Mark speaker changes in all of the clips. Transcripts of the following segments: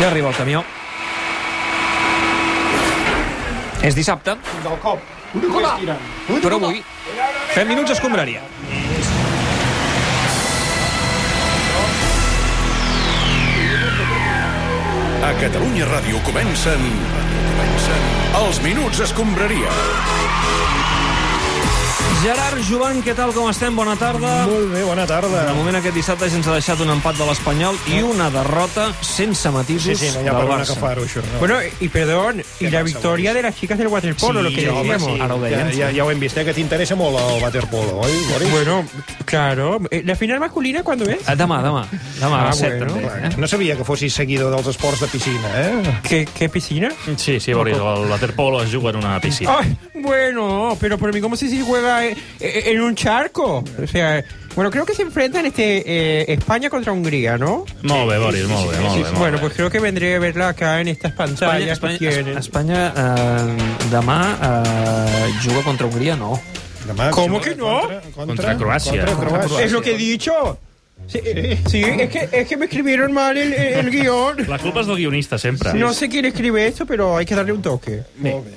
Speaker 1: Ja arriba el camió. És dissabte,
Speaker 2: Fins al cop. Un cop estirant.
Speaker 1: però avui fem minuts escombraria.
Speaker 3: A Catalunya Ràdio comencen... comencen... Els Minuts Escombraria.
Speaker 1: Gerard Joan, què tal, com estem? Bona tarda.
Speaker 2: Molt bé, bona tarda.
Speaker 1: De moment aquest dissabte ja ens ha deixat un empat de l'Espanyol i una derrota sense
Speaker 2: Sí,
Speaker 1: matisos
Speaker 2: sí, no hi ha
Speaker 1: del
Speaker 2: per on
Speaker 1: Barça.
Speaker 2: agafar-ho, això. No.
Speaker 4: Bueno, y perdón, y la victoria de las chicas del waterpolo, lo que
Speaker 1: Sí, home,
Speaker 4: decíamos.
Speaker 1: sí. Ara ho
Speaker 2: ja,
Speaker 1: dèiem.
Speaker 2: ja, ja ho hem vist, eh, que t'interessa molt el waterpolo, oi, Boris?
Speaker 4: Bueno, claro. Eh, ¿La final masculina cuándo es?
Speaker 1: Ah, Demà, demà. Demà, a
Speaker 4: Ah,
Speaker 1: les 7,
Speaker 4: bueno.
Speaker 1: també.
Speaker 5: eh?
Speaker 2: Clar, No sabia que fossis seguidor dels esports de piscina, eh?
Speaker 4: ¿Qué, qué piscina?
Speaker 5: Sí, sí, Boris, el waterpolo es juga en una piscina.
Speaker 4: Ay, bueno, pero por mí, ¿cómo si se juega eh, eh, en un charco? O sea, eh, bueno, creo que se enfrentan este, eh, España contra Hungría, ¿no?
Speaker 5: Molt bé, Boris, molt bé, molt
Speaker 4: Sí,
Speaker 5: bé. Molt
Speaker 4: bueno,
Speaker 5: bé.
Speaker 4: pues creo que vendré a verla acá en estas
Speaker 1: Espanya,
Speaker 4: pantallas que
Speaker 1: Espanya,
Speaker 4: tienen.
Speaker 1: Espanya eh, demà eh, juga contra Hongria, no.
Speaker 2: Demà,
Speaker 4: ¿Cómo
Speaker 2: si
Speaker 4: que no?
Speaker 2: Contra, contra,
Speaker 5: Contra Croàcia.
Speaker 2: Contra Croàcia.
Speaker 4: Es lo que he dicho. Sí, eh, sí, es, que, es que me escribieron mal el, el guión.
Speaker 5: La culpa és del guionista, sempre.
Speaker 4: No sé quién escribe esto, pero hay que darle un toque.
Speaker 2: Molt bé.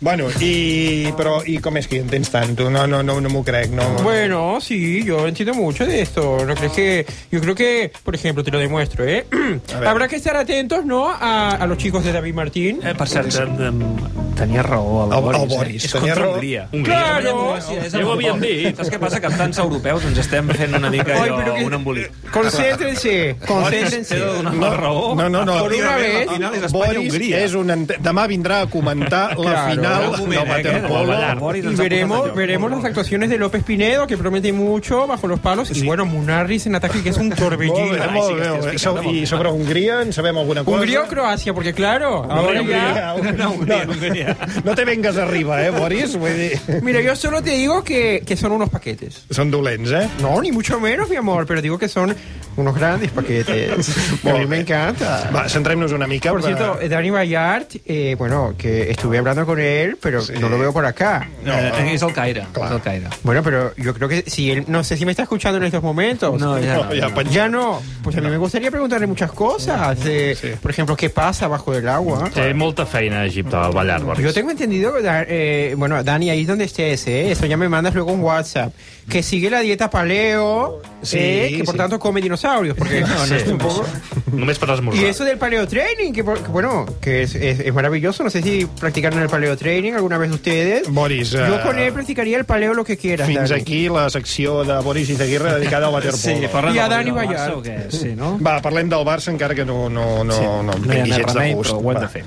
Speaker 2: Bueno, i, però, i com és que hi entens tant? Tu? No, no, no, no m'ho crec, no.
Speaker 4: Bueno, sí, yo entiendo mucho de esto. ¿No crees que.? Yo creo que, por ejemplo, te lo demuestro, ¿eh?
Speaker 2: A ver.
Speaker 4: Habrá que estar atentos, ¿no? A, a los chicos de David Martín.
Speaker 1: Eh, per cert,
Speaker 2: Pues
Speaker 1: eh, tenia raó el,
Speaker 2: El- el
Speaker 1: Boris.
Speaker 2: Boris,
Speaker 1: eh? És contra
Speaker 2: tenia raó.
Speaker 1: Hongria.
Speaker 5: Hongria.
Speaker 4: Claro.
Speaker 5: Ja ho havíem dit.
Speaker 1: Saps què passa? Que amb tants europeus ens estem fent una mica
Speaker 4: Ai,
Speaker 1: allò,
Speaker 4: però que-
Speaker 1: un embolic.
Speaker 4: Concéntrense,
Speaker 1: T'he
Speaker 4: concéntrense.
Speaker 1: de donar la raó.
Speaker 2: No, no, no.
Speaker 4: Por una vez.
Speaker 1: La final és
Speaker 2: Boris
Speaker 1: Espanya-Hongria.
Speaker 2: és un... ente- Demà vindrà a comentar la
Speaker 4: Claro.
Speaker 2: final
Speaker 1: Un moment,
Speaker 2: del
Speaker 1: eh, que
Speaker 2: waterpolo.
Speaker 1: el Boris
Speaker 4: Y
Speaker 1: ens ha posat
Speaker 4: veremos,
Speaker 1: allò.
Speaker 4: veremos las actuaciones de López Pinedo, que promete mucho bajo los palos. Y bueno, Munarris en ataque, que es un
Speaker 2: Molt
Speaker 4: torbellino.
Speaker 2: bé,
Speaker 1: sí
Speaker 2: molt
Speaker 1: que estic
Speaker 2: bé, molt bé.
Speaker 1: explicant
Speaker 2: eh, So-
Speaker 1: molt
Speaker 2: I
Speaker 1: bé.
Speaker 2: sobre Hongria en sabem alguna cosa?
Speaker 4: Hungría o Croacia, porque claro, ahora ya.
Speaker 2: Hongria, Hongria.
Speaker 1: No, Hongria.
Speaker 2: No te vengues arriba, eh, Boris? Vull dir...
Speaker 4: Mira, yo solo te digo que, que son unos paquetes.
Speaker 2: Són dolents, eh?
Speaker 4: No, ni mucho menos, mi amor, pero digo que son unos grandes paquetes. a mí me encanta.
Speaker 2: Va, centrem-nos una mica.
Speaker 4: Por
Speaker 2: va.
Speaker 4: cierto, Dani Bayard, eh, bueno, que estuve hablando con él, pero no lo veo por acá.
Speaker 1: Eh, és el Caire.
Speaker 2: Clar.
Speaker 1: És el Caire.
Speaker 4: Bueno, pero yo creo que si él, no sé si me está escuchando en estos momentos.
Speaker 1: No, ja
Speaker 2: No,
Speaker 1: no.
Speaker 2: ja, penja...
Speaker 4: Ya no, pues a mí me gustaría preguntarle muchas cosas. eh, Por ejemplo, ¿qué pasa bajo el agua?
Speaker 5: Té molta feina a Egipte, al ballar,
Speaker 4: Yo
Speaker 5: Boris.
Speaker 4: tengo entendido, da- eh, bueno, Dani, ahí donde estés, eh, eso ya me mandas luego un WhatsApp, que sigue la dieta paleo,
Speaker 2: Sí,
Speaker 4: eh, que por
Speaker 2: sí.
Speaker 4: tanto come dinosaurios, porque no, no es
Speaker 5: Sí.
Speaker 4: un poco...
Speaker 5: Només per
Speaker 4: Y
Speaker 5: esmorzar.
Speaker 4: eso del paleo training, que, por- que bueno, que es, es- es maravilloso. No sé si practicaron el paleo training alguna vez ustedes.
Speaker 2: Boris, eh,
Speaker 4: Yo con él practicaría el paleo lo que quieras.
Speaker 2: fins
Speaker 4: Dani.
Speaker 2: aquí la secció de Boris Izaguirre dedicada al
Speaker 1: Sí,
Speaker 2: waterpolo.
Speaker 1: parlem
Speaker 4: I a
Speaker 1: del
Speaker 4: Dani
Speaker 1: Barça
Speaker 4: Ballart.
Speaker 1: o què? Sí, no?
Speaker 2: Va, parlem del Barça, encara que no, no, no, no,
Speaker 1: No hi ha
Speaker 2: vingui
Speaker 1: més
Speaker 2: gens
Speaker 1: remei,
Speaker 2: de gust.
Speaker 1: però ho hem
Speaker 2: Va.
Speaker 1: de fer.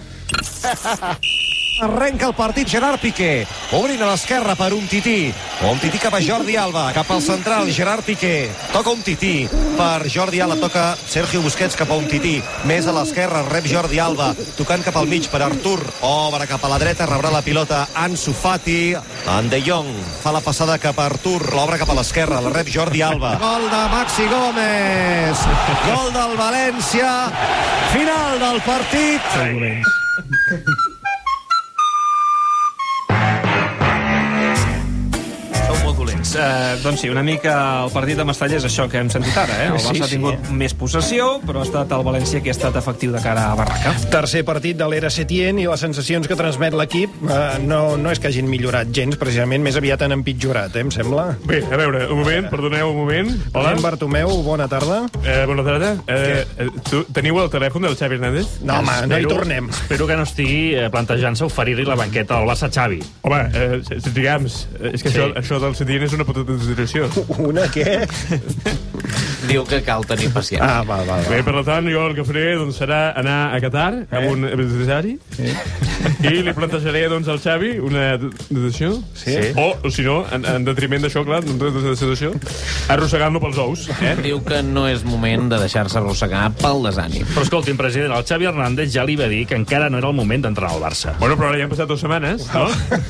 Speaker 6: Arrenca el partit Gerard Piqué. Obrint a l'esquerra per un tití. Un tití cap a Jordi Alba. Cap al central, Gerard Piqué. Toca un tití per Jordi Alba. Toca Sergio Busquets cap a un tití. Més a l'esquerra, rep Jordi Alba. Tocant cap al mig per Artur. Obre cap a la dreta, rebrà la pilota Ansu Fati. En De Jong fa la passada cap a Artur. L'obre cap a l'esquerra, la rep Jordi Alba. Gol de Maxi Gómez. Gol del València. Final del partit.
Speaker 1: Sou molt dolents. Eh, doncs sí, una mica el partit de Mestalla és això que hem sentit ara, eh? El Barça sí, sí, ha tingut més possessió, però ha estat el València qui ha estat efectiu de cara a Barraca.
Speaker 2: Tercer partit de l'era Setién i les sensacions que transmet l'equip eh, no, no és que hagin millorat gens, precisament més aviat han empitjorat, eh, em sembla.
Speaker 7: Bé, a veure, un moment, perdoneu un moment. Hola,
Speaker 2: President Bartomeu, bona tarda.
Speaker 7: eh, bona tarda. Eh, eh, tu, teniu el telèfon del Xavi Hernández?
Speaker 2: No, home, no hi tornem.
Speaker 5: Espero que no estigui eh, plantejant-se oferir-li la banqueta al Barça Xavi.
Speaker 7: Home, eh, s- s- digams, eh, és que
Speaker 5: Sí.
Speaker 7: sí. això, això del Setién és una puta consideració.
Speaker 2: Una, què?
Speaker 8: Diu que cal tenir paciència.
Speaker 2: Ah, va, va, va.
Speaker 7: Bé, per tant, jo el que faré doncs, serà anar a Qatar eh? amb un empresari eh? i li plantejaré doncs, al Xavi una dotació.
Speaker 2: Sí.
Speaker 7: O, si no, en, en detriment d'això, clar, d'una dotació, arrossegant-lo pels ous. Eh?
Speaker 8: Diu que no és moment de deixar-se arrossegar pel desànim.
Speaker 5: Però escolti'm, president, el Xavi Hernández ja li va dir que encara no era el moment d'entrenar al Barça.
Speaker 7: Bueno, però ara ja han passat dues setmanes, no?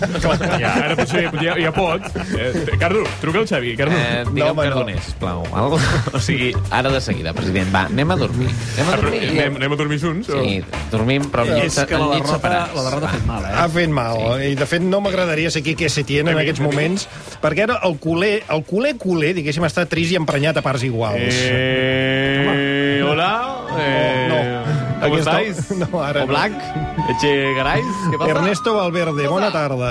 Speaker 7: ja, ara potser ja, ja pot. Eh, Cardo, truca al Xavi, Cardo.
Speaker 8: Eh,
Speaker 2: home,
Speaker 8: digue'm no,
Speaker 2: no.
Speaker 8: Cardonés, no. plau. Val? O sigui, ara de seguida, president. Va, anem a dormir. Anem a dormir. i-
Speaker 7: Anem, anem a dormir junts? o-
Speaker 8: Sí, dormim, però amb
Speaker 1: És
Speaker 8: llits,
Speaker 1: que la
Speaker 8: amb llits
Speaker 1: derrota,
Speaker 8: separats.
Speaker 1: la derrota ha fet mal, eh?
Speaker 2: Ha fet mal. I, de fet, no m'agradaria ser Quique Setién en aquests moments, perquè ara el culer, el culer, culer, diguéssim, està
Speaker 8: Eh.
Speaker 2: trist i emprenyat a parts iguals.
Speaker 7: Eh, hola. Eh,
Speaker 2: No.
Speaker 9: ¿Cómo
Speaker 2: Aquí està-
Speaker 9: estáis?
Speaker 2: No, ara
Speaker 8: O
Speaker 2: no.
Speaker 8: Blanc? Eche Garais? Què passa?
Speaker 2: Ernesto Valverde, bona tarda.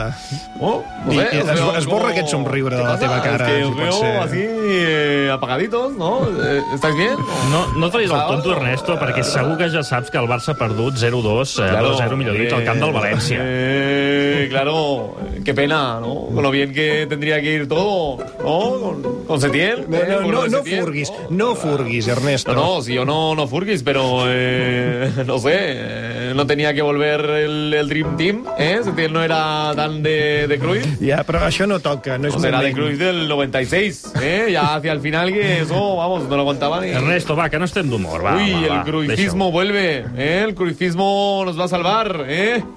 Speaker 8: Oh,
Speaker 2: I,
Speaker 8: sé,
Speaker 2: i
Speaker 8: os
Speaker 2: es,
Speaker 8: veo
Speaker 2: esborra
Speaker 8: como-
Speaker 2: aquest somriure de
Speaker 8: ¿Qué
Speaker 2: la
Speaker 8: pasa?
Speaker 2: teva cara,
Speaker 8: Es que os
Speaker 2: si pot
Speaker 8: veo así
Speaker 2: ser.
Speaker 8: eh, apagaditos, ¿no? Eh, ¿Estáis bien?
Speaker 5: No, no et facis el tonto, Ernesto, perquè segur que ja saps que el Barça ha perdut 0-2, eh, 2-0, millor dit, al camp del València.
Speaker 8: Eh, claro, eh, qué pena, ¿no? Con lo bien que tendría que ir todo, ¿no? Con, con Setién.
Speaker 2: No,
Speaker 8: eh,
Speaker 2: no,
Speaker 8: con lo
Speaker 2: no,
Speaker 8: de
Speaker 2: no
Speaker 8: Setién,
Speaker 2: furguis,
Speaker 8: ¿no?
Speaker 2: no furguis, Ernesto.
Speaker 8: No, no, si yo no, no Furgis, pero eh, no sé, eh, no tenía que volver el, el Dream Team, ¿eh? Setién no era tan de, de Cruyff.
Speaker 2: Ja, però això no toca, no és
Speaker 8: O sea, era de
Speaker 2: moment.
Speaker 8: Cruyff del 96, ¿eh? Ya hacia el final que eso, vamos, no lo aguantaba ni...
Speaker 5: Ernesto, va, que no estem d'humor, va,
Speaker 8: Uy,
Speaker 5: va, va,
Speaker 8: el cruifismo vuelve, ¿eh? El cruifismo nos va a salvar, ¿eh?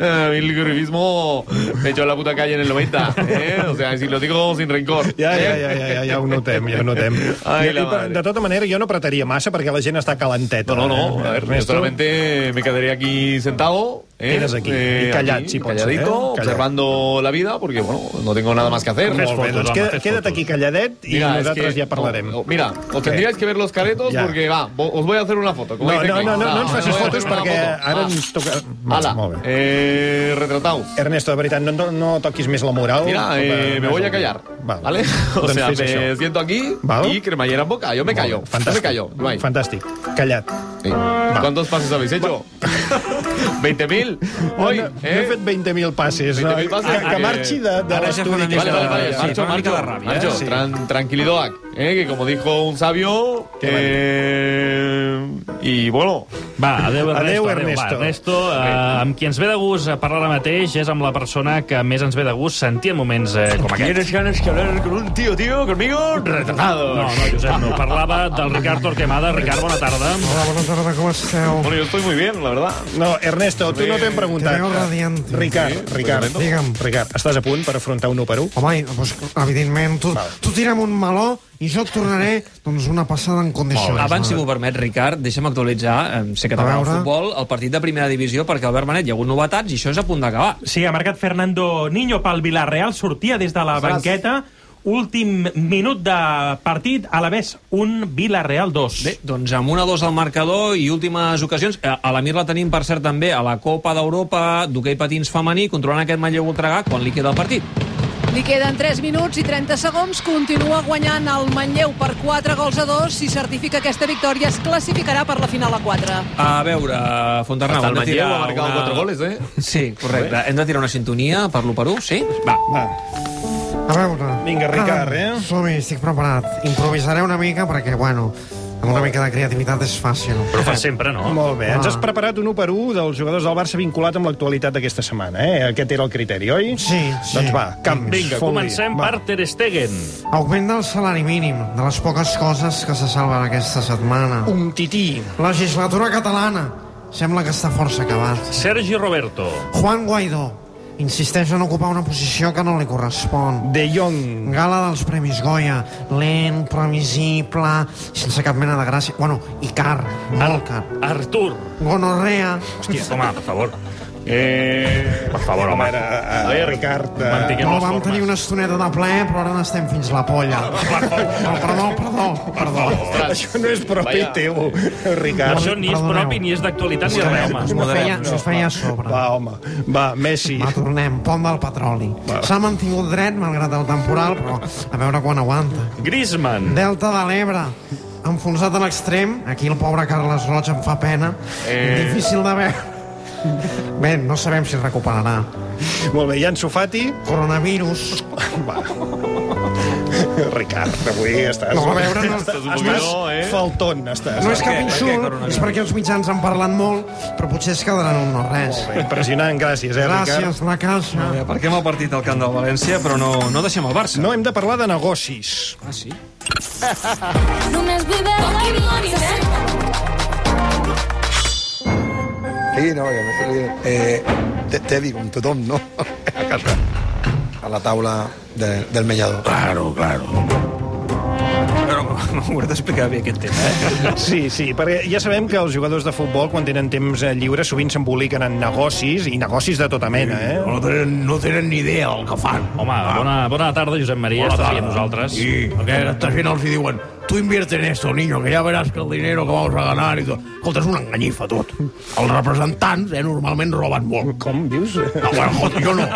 Speaker 8: El cruifismo me echó a la puta calle en el 90, ¿eh? O sea, si lo digo sin rencor.
Speaker 2: Ja, ja,
Speaker 8: ¿eh?
Speaker 2: ja, ja, ja, ja ho notem, ja ho notem.
Speaker 8: Ai,
Speaker 2: I,
Speaker 8: la
Speaker 2: i per-
Speaker 8: mare.
Speaker 2: de tota manera, jo no apretaria massa perquè la gent està calenteta.
Speaker 8: No, no, no, a
Speaker 2: eh,
Speaker 8: ver, yo solamente me quedaría aquí sentado. ¿eh?
Speaker 2: Quedas aquí, y callad, si puedes, ¿eh?
Speaker 8: calladito,
Speaker 2: Callad.
Speaker 8: observant la vida, porque, bueno, no tengo nada más que hacer.
Speaker 5: Fes
Speaker 2: Molt bé,
Speaker 5: fotos,
Speaker 2: doncs
Speaker 5: home,
Speaker 2: queda,
Speaker 5: fes
Speaker 2: queda't
Speaker 5: fotos.
Speaker 2: aquí calladet i
Speaker 8: Mira, es
Speaker 2: nosaltres
Speaker 8: que-
Speaker 2: ja parlarem.
Speaker 8: no, no, mira, os tendríais que ver los caretos
Speaker 2: Ya.
Speaker 8: porque va, vo- os voy a hacer una foto. Como
Speaker 2: No,
Speaker 8: dice
Speaker 2: no,
Speaker 8: Kiko.
Speaker 2: no, no, no ens facis
Speaker 8: voy a
Speaker 2: fotos
Speaker 8: hacer una
Speaker 2: perquè
Speaker 8: foto.
Speaker 2: ara
Speaker 8: Ah,
Speaker 2: ens toca...
Speaker 8: Ala,
Speaker 2: Molt, molt bé.
Speaker 8: eh, retrataos.
Speaker 2: Ernesto, de veritat, no, no, no toquis més la moral.
Speaker 8: Mira,
Speaker 2: Però,
Speaker 8: eh,
Speaker 2: no és
Speaker 8: me voy a
Speaker 2: el moment.
Speaker 8: callar,
Speaker 2: Val.
Speaker 8: ¿vale? O
Speaker 2: Doncs
Speaker 8: sea, me
Speaker 2: fes això.
Speaker 8: siento aquí
Speaker 2: Val.
Speaker 8: y cremallera en boca. Yo me callo, yo me
Speaker 2: Fantàstic.
Speaker 8: callo. no hay.
Speaker 2: Fantàstic. Callat.
Speaker 8: Sí. ¿Cuántos pases habéis hecho? ¿20.000? Hoy,
Speaker 2: no, no,
Speaker 8: eh?
Speaker 2: he fet 20.000 passes. No?
Speaker 8: 20.000 passes,
Speaker 2: que, que
Speaker 8: eh,
Speaker 2: marxi de, de
Speaker 1: ara ja fa una
Speaker 2: l'estudi. que
Speaker 1: mica
Speaker 8: Vale,
Speaker 2: està-
Speaker 8: vale, vale.
Speaker 1: Sí,
Speaker 8: Marcho,
Speaker 1: una mica
Speaker 8: marcho,
Speaker 1: de rabia,
Speaker 8: marcho.
Speaker 1: eh? Sí.
Speaker 8: Tran- tranquilidad, eh, que como dijo un sabio, eh, y bueno,
Speaker 5: Va, adeu, Ernesto.
Speaker 2: Adeu,
Speaker 5: Adeu,
Speaker 2: Ernesto.
Speaker 5: Ernesto. Va, Ernesto, eh, amb qui ens ve de gust eh, parlar ara mateix és amb la persona que més ens ve de gust sentir en moments eh, com aquest.
Speaker 8: ¿tienes ganas que hablar con un tío, tío, conmigo? Retratado.
Speaker 5: No, no, Josep, no. Parlava del Ricard Torquemada. Ricard, bona tarda.
Speaker 10: Hola, bona tarda, com esteu?
Speaker 8: Bueno, yo estoy muy bien, la verdad.
Speaker 2: No, Ernesto, tu no t'hem preguntat.
Speaker 10: Te veo radiante.
Speaker 2: Ricard, Ricard,
Speaker 10: Digue'm.
Speaker 2: Ricard, estàs a punt per afrontar un 1 per 1?
Speaker 10: Home, i, doncs, evidentment, tu, tu tira'm un meló i jo et tornaré doncs, una passada en condicions.
Speaker 1: Abans, si m'ho permet, Ricard, deixa'm actualitzar, eh, sé que
Speaker 10: A
Speaker 1: t'agrada el
Speaker 10: veure.
Speaker 1: futbol, el partit de primera divisió, perquè al Bernanet hi ha hagut novetats i això és a punt d'acabar.
Speaker 11: Sí, ha marcat Fernando Niño pel Villarreal, sortia des de la
Speaker 8: Ostres.
Speaker 11: banqueta, últim minut de partit, a la vez un Villarreal 2.
Speaker 1: Bé, doncs amb una dos al marcador i últimes ocasions. A a la Mir la tenim, per cert, també a la Copa d'Europa d'hoquei patins femení, controlant aquest Manlleu Voltregà quan li queda el partit.
Speaker 12: Li queden 3 minuts i 30 segons. Continua guanyant el Manlleu per 4 gols a 2. Si certifica aquesta victòria, es classificarà per la final a 4.
Speaker 1: A veure, Fontarnau,
Speaker 8: Hasta el
Speaker 1: hem de
Speaker 8: Manlleu
Speaker 1: tirar
Speaker 8: ha marcado
Speaker 1: una-
Speaker 8: cuatro goles, ¿eh?
Speaker 1: Sí, correcte. Hem de tirar una sintonia per l'1 per 1, sí? Va.
Speaker 2: Va,
Speaker 10: A veure...
Speaker 2: Vinga, Ricard, eh?
Speaker 10: Som-hi, estic preparat. Improvisaré una mica perquè, bueno, amb una mica de creativitat és fàcil.
Speaker 5: Però ho fa sempre, no?
Speaker 2: molt bé. Ens
Speaker 10: Ah.
Speaker 2: has preparat un 1 per 1 dels jugadors del Barça vinculat amb l'actualitat d'aquesta setmana, eh? Aquest era el criteri, oi?
Speaker 10: Sí, sí.
Speaker 2: Doncs va, camps.
Speaker 5: Vinga,
Speaker 2: fot-li.
Speaker 5: comencem
Speaker 2: Va.
Speaker 5: per Ter Stegen.
Speaker 10: Augment del salari mínim, de les poques coses que se salven aquesta setmana.
Speaker 2: Un tití.
Speaker 10: Legislatura catalana. Sembla que està força acabat.
Speaker 5: Sergi Roberto.
Speaker 10: Juan Guaidó insisteix en ocupar una posició que no li correspon.
Speaker 2: De Jong.
Speaker 10: Gala dels Premis Goya, lent, previsible, sense cap mena de gràcia. Bueno, i car, molt car.
Speaker 5: Artur.
Speaker 10: Gonorrea,
Speaker 5: Hòstia, home, per favor.
Speaker 8: Eh,
Speaker 5: Per favor, home.
Speaker 2: Ara, a, a, Ricard... eh,
Speaker 5: Mantinguem
Speaker 10: no
Speaker 5: les
Speaker 10: vam
Speaker 5: formes.
Speaker 10: tenir una estoneta de ple, però ara n'estem fins la polla. No, perdó, perdó, perdó.
Speaker 2: Oh, Això no és propi
Speaker 8: Vaya.
Speaker 2: teu, Ricard.
Speaker 5: Oh, Això ni és
Speaker 10: Perdoneu.
Speaker 5: propi, ni és d'actualitat, ni res, home.
Speaker 10: Us ho feia, us ho feia a sobre.
Speaker 2: Va, home. Va, Messi.
Speaker 10: Va, tornem, pont del petroli. S'ha mantingut dret, malgrat el temporal, però a veure quan aguanta.
Speaker 5: Griezmann.
Speaker 10: Delta de l'Ebre, enfonsat a l'extrem. Aquí el pobre Carles Roig em fa pena.
Speaker 8: Eh.
Speaker 10: Difícil de veure. Bé, no sabem si es recuperarà.
Speaker 2: Molt bé, i Ansu Fati.
Speaker 10: Coronavirus.
Speaker 2: Va. Ricard, avui estàs...
Speaker 10: No, a veure, no,
Speaker 8: Estàs un
Speaker 2: Estàs
Speaker 8: poquito, eh?
Speaker 2: falton, estàs.
Speaker 10: no és cap
Speaker 1: Per què
Speaker 10: insult,
Speaker 1: coronavirus?
Speaker 10: és perquè els mitjans han parlat molt, però potser es quedaran un no res.
Speaker 2: Impressionant, gràcies, eh, Ricard?
Speaker 10: Gràcies, la caixa.
Speaker 1: Per què m'ha partit el camp del València, però no, no deixem el Barça?
Speaker 2: No, hem de parlar de negocis.
Speaker 1: Ah, sí?
Speaker 13: Només vull veure money, eh?
Speaker 14: Sí, no, i a més, eh, té- té vi com tothom, no? A casa. A la taula de, del menjador.
Speaker 1: Però m'ho hauré d'explicar bé aquest tema, eh?
Speaker 2: Sí, sí, perquè ja sabem que els jugadors de futbol, quan tenen temps eh, lliure, sovint s'emboliquen en negocis, i negocis de tota mena, eh?
Speaker 14: No tenen, no tenen ni idea del que fan.
Speaker 5: Home, bona, bona tarda, Josep Maria. Estàs aquí amb nosaltres.
Speaker 14: Sí, perquè estàs fent els hi diuen tú invierte en esto, niño, que ya verás que el dinero que vamos a ganar i tot. Escolta, és una enganyifa, tot. Els representants, eh, normalment roben molt. Com dius? No, bueno, escolta, jo no.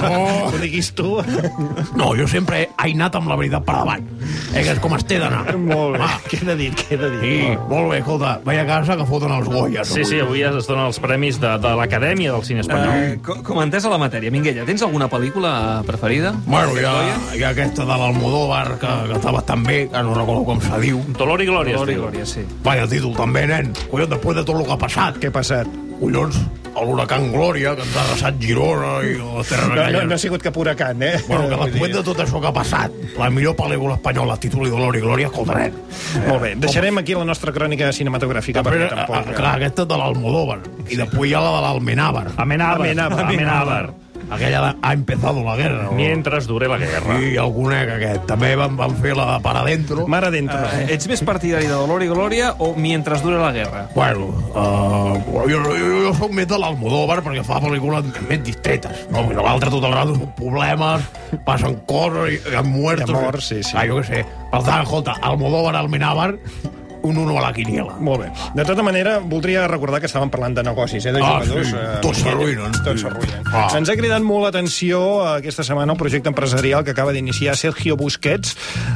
Speaker 14: no. Ho diguis tu. No, jo sempre he anat amb la veritat per davant. Eh, que és com es té d'anar. Molt bé, queda dit, queda dit. Sí, molt bé, escolta, veia casa que foten els Goyas.
Speaker 5: Sí, sí, avui es donen els premis de, de l'Acadèmia del Cine Espanyol.
Speaker 1: Eh, co- com a entès a la matèria, Minguella, tens alguna pel·lícula preferida?
Speaker 14: Bueno, hi ha,
Speaker 1: eh?
Speaker 14: hi ha aquesta de l'Almodóvar, que, que està bastant bé, que no recordo com se diu.
Speaker 5: Dolor i glòria.
Speaker 14: Dolor i glòria, sí. Vaya títol també, nen. Collons, després de tot el que ha passat. Què ha passat? Collons, l'huracan Glòria, que ens ha arrasat Girona i les Terres
Speaker 2: No, no,
Speaker 14: Encallades.
Speaker 2: no ha sigut cap huracan, eh?
Speaker 14: Bueno, que després de tot això que ha passat, la millor pel·lícula espanyola, títol i Dolor i Glòria, Eh, escolta, nen.
Speaker 2: Molt bé, deixarem aquí la nostra crònica cinematogràfica,
Speaker 14: Després, a,
Speaker 2: perquè
Speaker 14: a,
Speaker 2: tampoc...
Speaker 14: ah, clar, aquesta de l'Almodóvar. I després hi ha la de l'Almenàvar.
Speaker 5: Amenàbar. Amenàbar. Amenàbar.
Speaker 14: Aquella de, ha empezado la guerra. No?
Speaker 5: Mientras dure la guerra.
Speaker 14: I el conec, aquest. També van, van fer la de Para Dentro.
Speaker 2: Mare dentro.
Speaker 1: Eh, ets més partidari de Dolor i Glòria o Mientras dure la guerra?
Speaker 14: Bueno,
Speaker 1: Oh,
Speaker 14: uh, jo, jo, jo soc més de l'Almodóvar perquè fa pel·lícules més distretes. No? Perquè l'altre tot el rato són problemes, passen coses, hi ha muertos... Hi ha morts, sí, sí. Ah, jo què sé. Per tant, escolta, Almodóvar, Almenàvar, un 1 a la quiniela.
Speaker 2: Molt bé. De tota manera, voldria recordar que estàvem parlant de negocis, eh, de
Speaker 14: Ah,
Speaker 2: jugadors.
Speaker 14: sí.
Speaker 2: eh,
Speaker 14: Tots s'arruïnen.
Speaker 2: Tots s'arruïnen. Ens ha cridat molt l'atenció eh, aquesta setmana el projecte empresarial que acaba d'iniciar Sergio Busquets.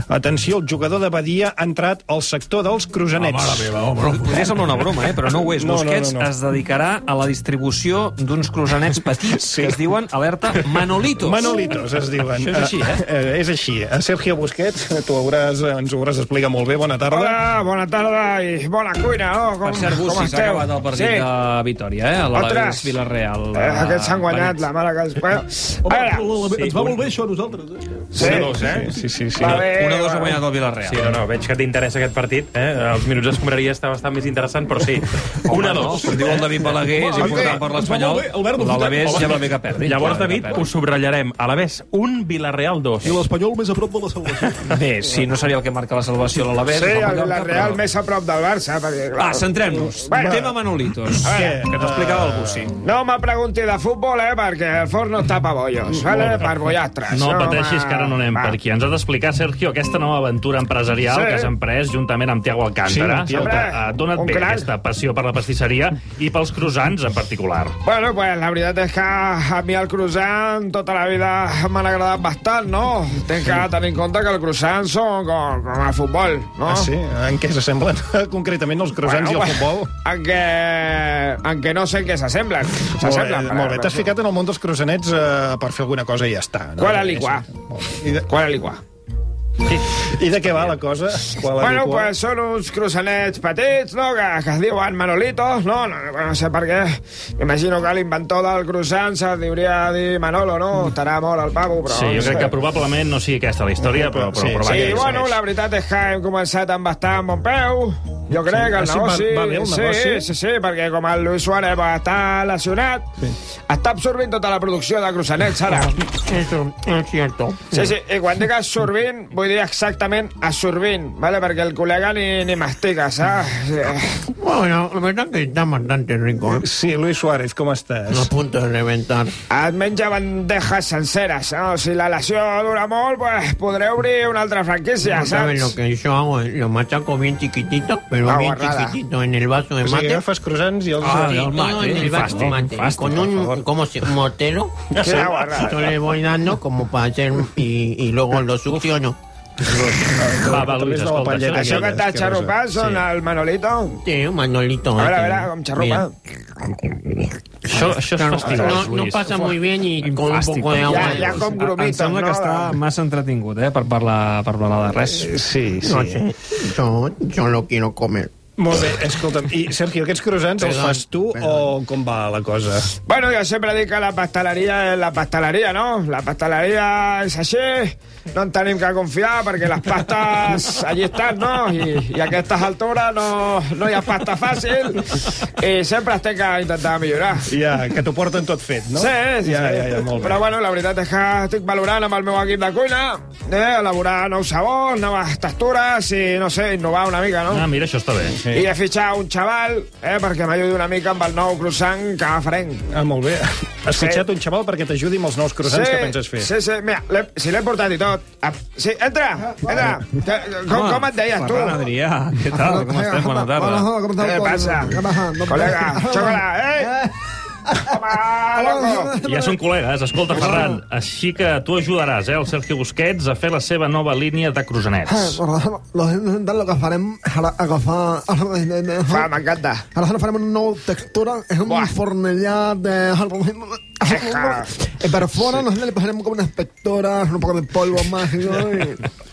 Speaker 2: Atenció, el jugador de Badia ha entrat al sector dels cruzanets.
Speaker 1: Ah, mare meva, home. Podria semblar una broma, eh, però no ho és. Busquets es dedicarà a la distribució d'uns cruzanets petits que es diuen, alerta, Manolitos.
Speaker 2: Manolitos, es diuen.
Speaker 1: Això és així, eh?
Speaker 2: eh és així. A Sergio Busquets, tu hauràs, eh, ens ho hauràs explicat molt bé. Bona tarda.
Speaker 15: Hola, bona tarda i bona cuina. Oh, com,
Speaker 1: Per cert,
Speaker 15: com
Speaker 1: Bussi, s'ha
Speaker 15: esteu?
Speaker 1: acabat el partit
Speaker 15: Sí.
Speaker 1: de Vitoria, eh? A la
Speaker 15: Ostres.
Speaker 1: Villarreal.
Speaker 15: Eh, aquests s'han guanyat, la mare que els... Bueno, a veure,
Speaker 16: Ens va molt bé això a nosaltres, eh?
Speaker 15: Sí.
Speaker 16: Una, dos,
Speaker 15: eh?
Speaker 2: Sí, sí, sí.
Speaker 15: Va bé, Una, dos, va ha guanyat
Speaker 1: el Villarreal.
Speaker 5: Sí, no, no, veig que t'interessa aquest partit. Eh? Els minuts d'escombraria està bastant més interessant, però sí. Una,
Speaker 1: no,
Speaker 5: dos. Ah, eh,
Speaker 1: com diu el David Balaguer, és important per l'Espanyol. L'Alavés ja va bé que perdi.
Speaker 17: Llavors, David, ho subratllarem. A la vez, un Villarreal 2. I l'Espanyol més a prop de la salvació.
Speaker 1: Bé, sí, no seria el que marca la salvació a l'Alavés.
Speaker 15: Sí,
Speaker 1: no marca
Speaker 15: el, la
Speaker 1: cap,
Speaker 15: Real
Speaker 1: però-
Speaker 15: més a prop del Barça. eh, Perquè,
Speaker 1: Va, centrem-nos. Tema Manolitos.
Speaker 15: A
Speaker 1: Què?
Speaker 15: veure.
Speaker 1: Que t'explicava el Bussi.
Speaker 15: No me pregunti de futbol, eh, perquè el forn no està pa bollos, vale? per bollastres.
Speaker 5: Mm. No pateixis,
Speaker 15: va.
Speaker 5: que ara no anem per aquí. Ens ha d'explicar, Sergio, aquesta nova aventura empresarial
Speaker 15: Sí.
Speaker 5: que has emprès juntament amb Tiago Alcántara.
Speaker 15: Sí, Tiago.
Speaker 5: Escolta, eh, dona't
Speaker 15: Un
Speaker 5: bé
Speaker 15: crac.
Speaker 5: aquesta passió per la pastisseria i pels croissants en particular.
Speaker 15: Bueno, pues la veritat és que a mi el croissant tota la vida m'han agradat bastant, no? Tens que tenir en compte que el croissant són com, com el futbol, no?
Speaker 2: Ah, sí? En què s'assemblen concretament els croissants i el futbol?
Speaker 15: En què, en què no sé en què s'assemblen. S'assemblen.
Speaker 2: Molt bé, molt bé.
Speaker 15: però-
Speaker 2: T'has ficat en el món dels croissanets eh, per fer alguna cosa i ja està. No?
Speaker 15: Qual a liquar. Qual a liquar.
Speaker 2: I de què va la cosa? Qual a
Speaker 15: Bueno,
Speaker 2: liquar?
Speaker 15: pues són uns croissanets petits, no?, que, que es diuen Manolitos, no, no, no sé per què. M'imagino que l'inventor del croissant se hauria de dir Manolo, no? Estarà molt al pavo, però...
Speaker 5: Sí,
Speaker 15: no
Speaker 5: jo
Speaker 15: sé.
Speaker 5: crec que probablement no sigui aquesta la història, però, però, però,
Speaker 15: sí,
Speaker 5: vaja,
Speaker 15: bueno,
Speaker 5: segueix.
Speaker 15: la veritat és que hem començat amb bastant bon peu. Jo crec
Speaker 2: Sí,
Speaker 15: que
Speaker 2: ah,
Speaker 15: el
Speaker 2: sí, va-
Speaker 15: negoci...
Speaker 2: va bé el negoci?
Speaker 15: Sí, sí, sí, perquè com el Luis Suárez va estar lesionat, sí. està absorbint tota la producció de Cruzanets ara.
Speaker 4: Eso, es cierto.
Speaker 15: Sí, sí, i quan dic absorbint, vull dir exactament absorbint, ¿vale? perquè el col·lega ni, ni ah? mastica, saps? Sí.
Speaker 4: Bueno, la verdad que está bastante rico. ¿eh?
Speaker 2: Sí, Luis Suárez, ¿cómo estás?
Speaker 4: A punto de reventar.
Speaker 15: Et menja bandejas senceres, no? Si la lesió dura molt, pues podré obrir una altra franquícia,
Speaker 4: No sabes lo
Speaker 15: saps?
Speaker 4: que yo hago, eh? lo machaco bien chiquitito, pero
Speaker 15: Ah,
Speaker 4: bien
Speaker 15: guarrada.
Speaker 4: chiquitito en el vaso de
Speaker 2: O sigui,
Speaker 4: mate.
Speaker 2: agafes croissants i els...
Speaker 4: Ah,
Speaker 2: i
Speaker 4: el mate,
Speaker 2: no,
Speaker 4: el vaso de mate. con un como si, mortero,
Speaker 2: Ya sé.
Speaker 4: yo le voy dando como para hacer y, y luego lo succiono.
Speaker 5: Va, va, Luis, escolta, això-
Speaker 15: Això que està xarrupant són el Manolito?
Speaker 4: Sí, un Manolito.
Speaker 15: A veure, a
Speaker 4: este.
Speaker 15: veure, com xarrupa.
Speaker 4: Mira.
Speaker 5: Això, això és
Speaker 4: Claro,
Speaker 5: fastigós,
Speaker 4: no- no
Speaker 5: Luis.
Speaker 4: pasa muy bien y con un poco de agua.
Speaker 15: Ja, ja com
Speaker 1: Em
Speaker 15: grumites,
Speaker 1: sembla que
Speaker 15: no?
Speaker 1: està massa entretingut, eh, per parlar, per parlar de res.
Speaker 15: Eh,
Speaker 2: Sí,
Speaker 4: No sé, yo, yo lo quiero comer.
Speaker 2: Molt bé, escolta'm. I, Sergio, aquests croissants els
Speaker 15: doncs?
Speaker 4: Perdón,
Speaker 2: fas tu o com va la cosa?
Speaker 15: Bueno, yo siempre dic que la pasteleria és la pasteleria, no? La pasteleria és així, no en tenim que confiar perquè les pastes allí estan, no? I, i a aquestes altures no, no hi ha pasta fàcil i sempre es té que intentar millorar.
Speaker 2: Ja, eh, que t'ho porten tot fet, no?
Speaker 15: Sí, sí,
Speaker 2: ja,
Speaker 15: sí.
Speaker 2: ja, ja, molt bé.
Speaker 15: Però bueno, la veritat és que estic valorant amb el meu equip de cuina, eh, elaborar nous sabors, noves textures i, no sé, innovar una mica, no?
Speaker 5: Ah, mira, això està bé.
Speaker 15: Sí. I he fitxat un xaval eh, perquè m'ajudi una mica amb el nou croissant que farem.
Speaker 2: Ah, molt bé. Has fitxat un xaval perquè t'ajudi amb els nous croissants que penses fer.
Speaker 15: Sí, sí, mira, l'he- si l'he portat i tot. Ah, Sí, entra, entra. Que- Com,
Speaker 1: Home,
Speaker 15: com et deies, tu?
Speaker 1: Ferran Adrià, què tal? Com estem? Bona tarda.
Speaker 15: Què passa? Col·lega, xocola, eh?
Speaker 5: Ja són col·legues. Escolta, Ferran, així que tu ajudaràs, eh, el Sergio Busquets a fer la seva nova línia de
Speaker 16: Ah,
Speaker 15: Ah,
Speaker 5: croissanets.
Speaker 16: La gent del que farem serà agafar... Fa,
Speaker 15: m'encanta.
Speaker 16: Aleshores farem una nou textura, és un fornellat de... Eh, Per fora nosotros le pasaremos como unas pectoras, un poco de polvo mágico.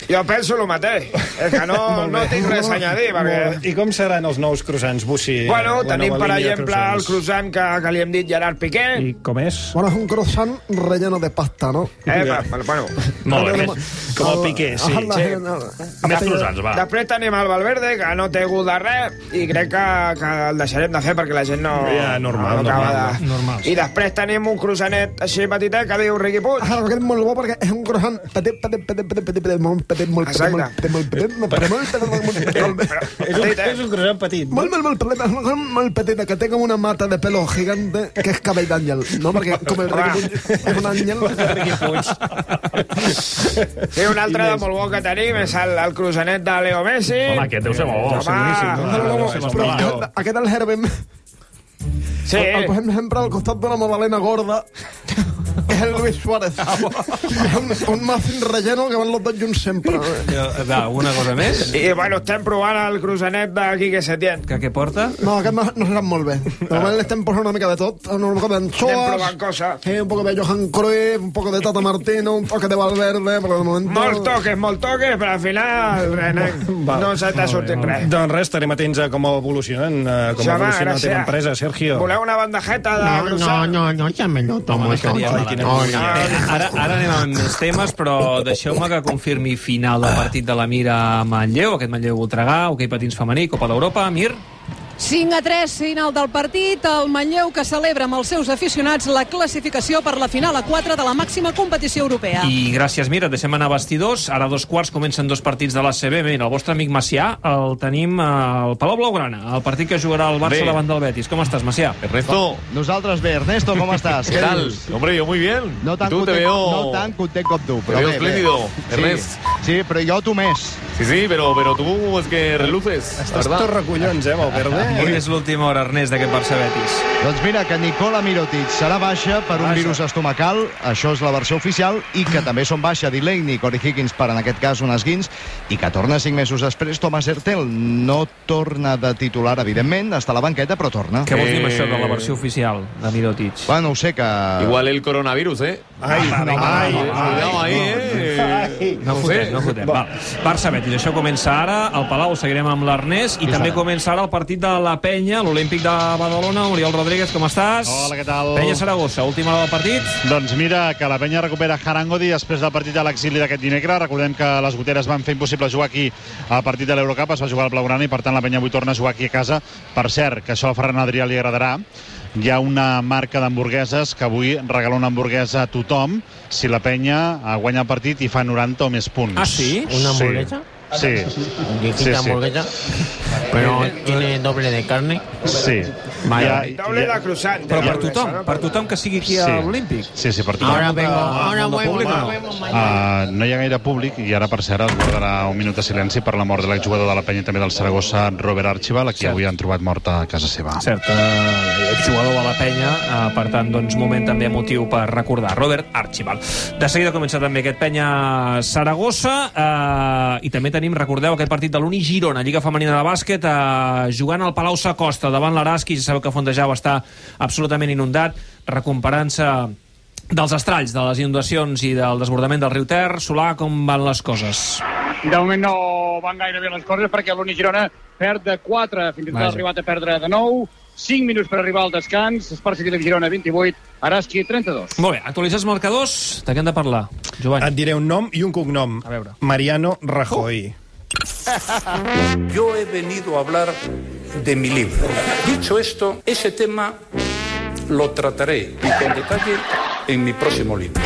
Speaker 15: Jo penso el mateix. És que no, no tinc res a añadir, perquè...
Speaker 2: Molt bé. I com seran els nous croissants, Bussi?
Speaker 15: Bueno,
Speaker 2: La
Speaker 15: tenim,
Speaker 2: nova
Speaker 15: per
Speaker 2: línia de
Speaker 15: exemple, el
Speaker 2: croissants.
Speaker 15: croissant que, que li hem dit Gerard Piqué.
Speaker 2: I com és?
Speaker 16: Bueno, es un croissant relleno de pasta, ¿no?
Speaker 15: Eh, va, bueno.
Speaker 2: Molt bé. Com el Piqué, sí. Més croissants, va.
Speaker 15: Després tenim el Valverde, que no té gust de res, i crec que, que el deixarem de fer perquè la gent no...
Speaker 2: Ja, normal,
Speaker 15: no acaba
Speaker 2: normal,
Speaker 15: de... normal. I després tenim un croissanet així petitet que diu Riqui Puig.
Speaker 16: Ara, perquè és molt bo, perquè és un croissant petit, petit, petit, petit, petit, petit, molt petit, molt petit, molt petit, molt petit, molt petit, molt petit, molt petit, molt petit,
Speaker 2: És un, és un croissant petit.
Speaker 16: Molt, molt, molt, petita, molt, molt petita, que té com una mata de pelo gigante, que és cabell d'àngel, no? Perquè com el Riqui Puig és un àngel...
Speaker 15: I un altre de molt bo que tenim és el, el croissanet de Leo Messi.
Speaker 5: Home, aquest deu ser molt bo.
Speaker 16: Però aquest, aquest el Herbem...
Speaker 15: Sí.
Speaker 16: El, el posem sempre pues, al costat d'una magdalena gorda, que és el Luis Suárez. un, un muffin relleno que van los dos junts sempre.
Speaker 1: Va, una cosa més?
Speaker 15: I, bueno, estem provant el croissanet de Quique Setién.
Speaker 1: Que què porta?
Speaker 16: No, aquest no, no serà molt bé. De moment l'estem posant este una mica de tot, una mica
Speaker 15: Estem
Speaker 16: d'anchoas,
Speaker 15: provant coses.
Speaker 16: eh, un poc de Johan Cruyff, un poc de Tata Martino, un poc de Valverde, però de moment...
Speaker 15: Molt toques, molt toques, però al final, Renan, no se t'ha sortit res.
Speaker 2: Doncs res, estarem atents a com evolucionen, eh, com
Speaker 15: Ja va,
Speaker 2: evoluciona la
Speaker 15: gràcies.
Speaker 2: teva empresa, Sergio.
Speaker 15: Voleu una bandejeta de
Speaker 2: No,
Speaker 15: croissant?
Speaker 4: No, no, ya me lo tomo eso. No, no.
Speaker 1: Ara, ara anem amb més temes, però deixeu-me que confirmi final del partit de la Mira a Manlleu, aquest Manlleu Voltregà, hoquei patins femení, Copa d'Europa. Mir,
Speaker 12: 5 a 3, final del partit, el Manlleu que celebra amb els seus aficionats la classificació per la final a 4 de la màxima competició europea.
Speaker 1: i gràcies, Mir, et deixem anar a vestidors. Ara a dos quarts comencen dos partits de la CB. Mira, el vostre amic Macià el tenim al Palau Blaugrana, el partit que jugarà el Barça
Speaker 8: Bé.
Speaker 1: davant del Betis. Com estàs, Macià?
Speaker 8: Ernesto.
Speaker 18: Nosaltres bé, Ernesto, com estàs?
Speaker 8: ¿Qué tal? Hombre, yo muy bien.
Speaker 18: No tan,
Speaker 8: Tú te
Speaker 18: content,
Speaker 8: veo...
Speaker 18: no tan content com tu, però
Speaker 8: veo
Speaker 18: bé, bé.
Speaker 8: espléndido, Ernest.
Speaker 18: Sí, sí, però jo tu més.
Speaker 8: Sí, sí, pero, pero tú es que reluces, ¿verdad?
Speaker 2: recollons, eh, Valverde?
Speaker 1: Avui és l'última hora, Ernest, d'aquest Barça-Betis.
Speaker 18: Ah, Doncs mira, que Nicola Mirotic serà baixa per un virus estomacal, això és la versió oficial, i que també són baixa Delaney, Corey Higgins per en aquest cas un esguins, i que torna cinc mesos després Thomas Hertel. No torna de titular, evidentment, està a la banqueta, però torna.
Speaker 1: Què vols dir amb
Speaker 8: Eh.
Speaker 1: això de la versió oficial de Mirotic?
Speaker 18: Bueno, ho sé que...
Speaker 8: Igual el coronavirus, ¿eh?
Speaker 1: Ai,
Speaker 8: no,
Speaker 1: ai,
Speaker 8: cuidado ahí, ¿eh?
Speaker 1: No fotem, no fotem. Val. Barça-Betis, això comença ara. Al Palau seguirem amb l'Ernest i
Speaker 18: Sí,
Speaker 1: també
Speaker 18: senyor.
Speaker 1: comença ara el partit de la penya, l'Olímpic de Badalona. Oriol Rodríguez, com estàs?
Speaker 19: Hola, què tal?
Speaker 1: Penya Saragossa, última hora del partit.
Speaker 19: Doncs mira, que la penya recupera Harangodi després del partit a l'exili d'aquest dimecres. Recordem que les goteres van fer impossible jugar aquí al partit de l'Eurocup, es va jugar al Blaugrana i per tant la penya avui torna a jugar aquí a casa. Per cert, que això a Ferran Adrià li agradarà. Hi ha una marca d'hamburgueses que avui regala una hamburguesa a tothom si la penya eh, guanya el partit i fa 90 o més punts.
Speaker 4: Ah, sí? Una hamburguesa?
Speaker 19: Sí.
Speaker 4: Difícil hamburguesa, pero tiene doble de carne.
Speaker 19: Sí.
Speaker 4: Vaya.
Speaker 15: Doble de croissant.
Speaker 1: Però per
Speaker 15: eh?
Speaker 1: tothom, per tothom que sigui aquí
Speaker 19: Sí.
Speaker 1: a l'Olímpic.
Speaker 19: Sí, sí, per tothom. Ah,
Speaker 1: Ahora vengo,
Speaker 4: ahora vuelvo,
Speaker 15: Ah.
Speaker 4: ahora
Speaker 19: Uh, no hi ha gaire públic i ara, per cert, es guardarà un minut de silenci per la mort de l'exjugador de la penya i també del Saragossa, Robert Archibald, a qui avui han trobat morta a casa seva.
Speaker 1: Cert, eh, jugador de la penya, eh, per tant, doncs, moment també motiu per recordar. Robert Archibald. De seguida comença també aquest penya Saragossa eh, i també tenim, recordeu, aquest partit de l'Uni Girona, Lliga Femenina de Bàsquet, eh, jugant al Palau Sacosta davant l'Araski, ja sabeu que Fontejau està absolutament inundat, recuperant-se dels estralls, de les inundacions i del desbordament del riu Ter. Solà, com van les coses?
Speaker 20: De moment no van gaire bé les coses perquè l'Uni Girona perd de 4, fins i tot
Speaker 1: Vaja.
Speaker 20: ha arribat a perdre de 9, 5 minuts per arribar al descans, Esparci de Girona 28, Araski 32.
Speaker 1: Molt bé, actualitzats marcadors, de què hem de parlar? Joan.
Speaker 2: Et diré un nom i un cognom. A veure. Mariano Rajoy.
Speaker 21: Yo he venido a hablar de mi libro. Dicho esto, ese tema lo trataré y con detalle en mi próximo libro.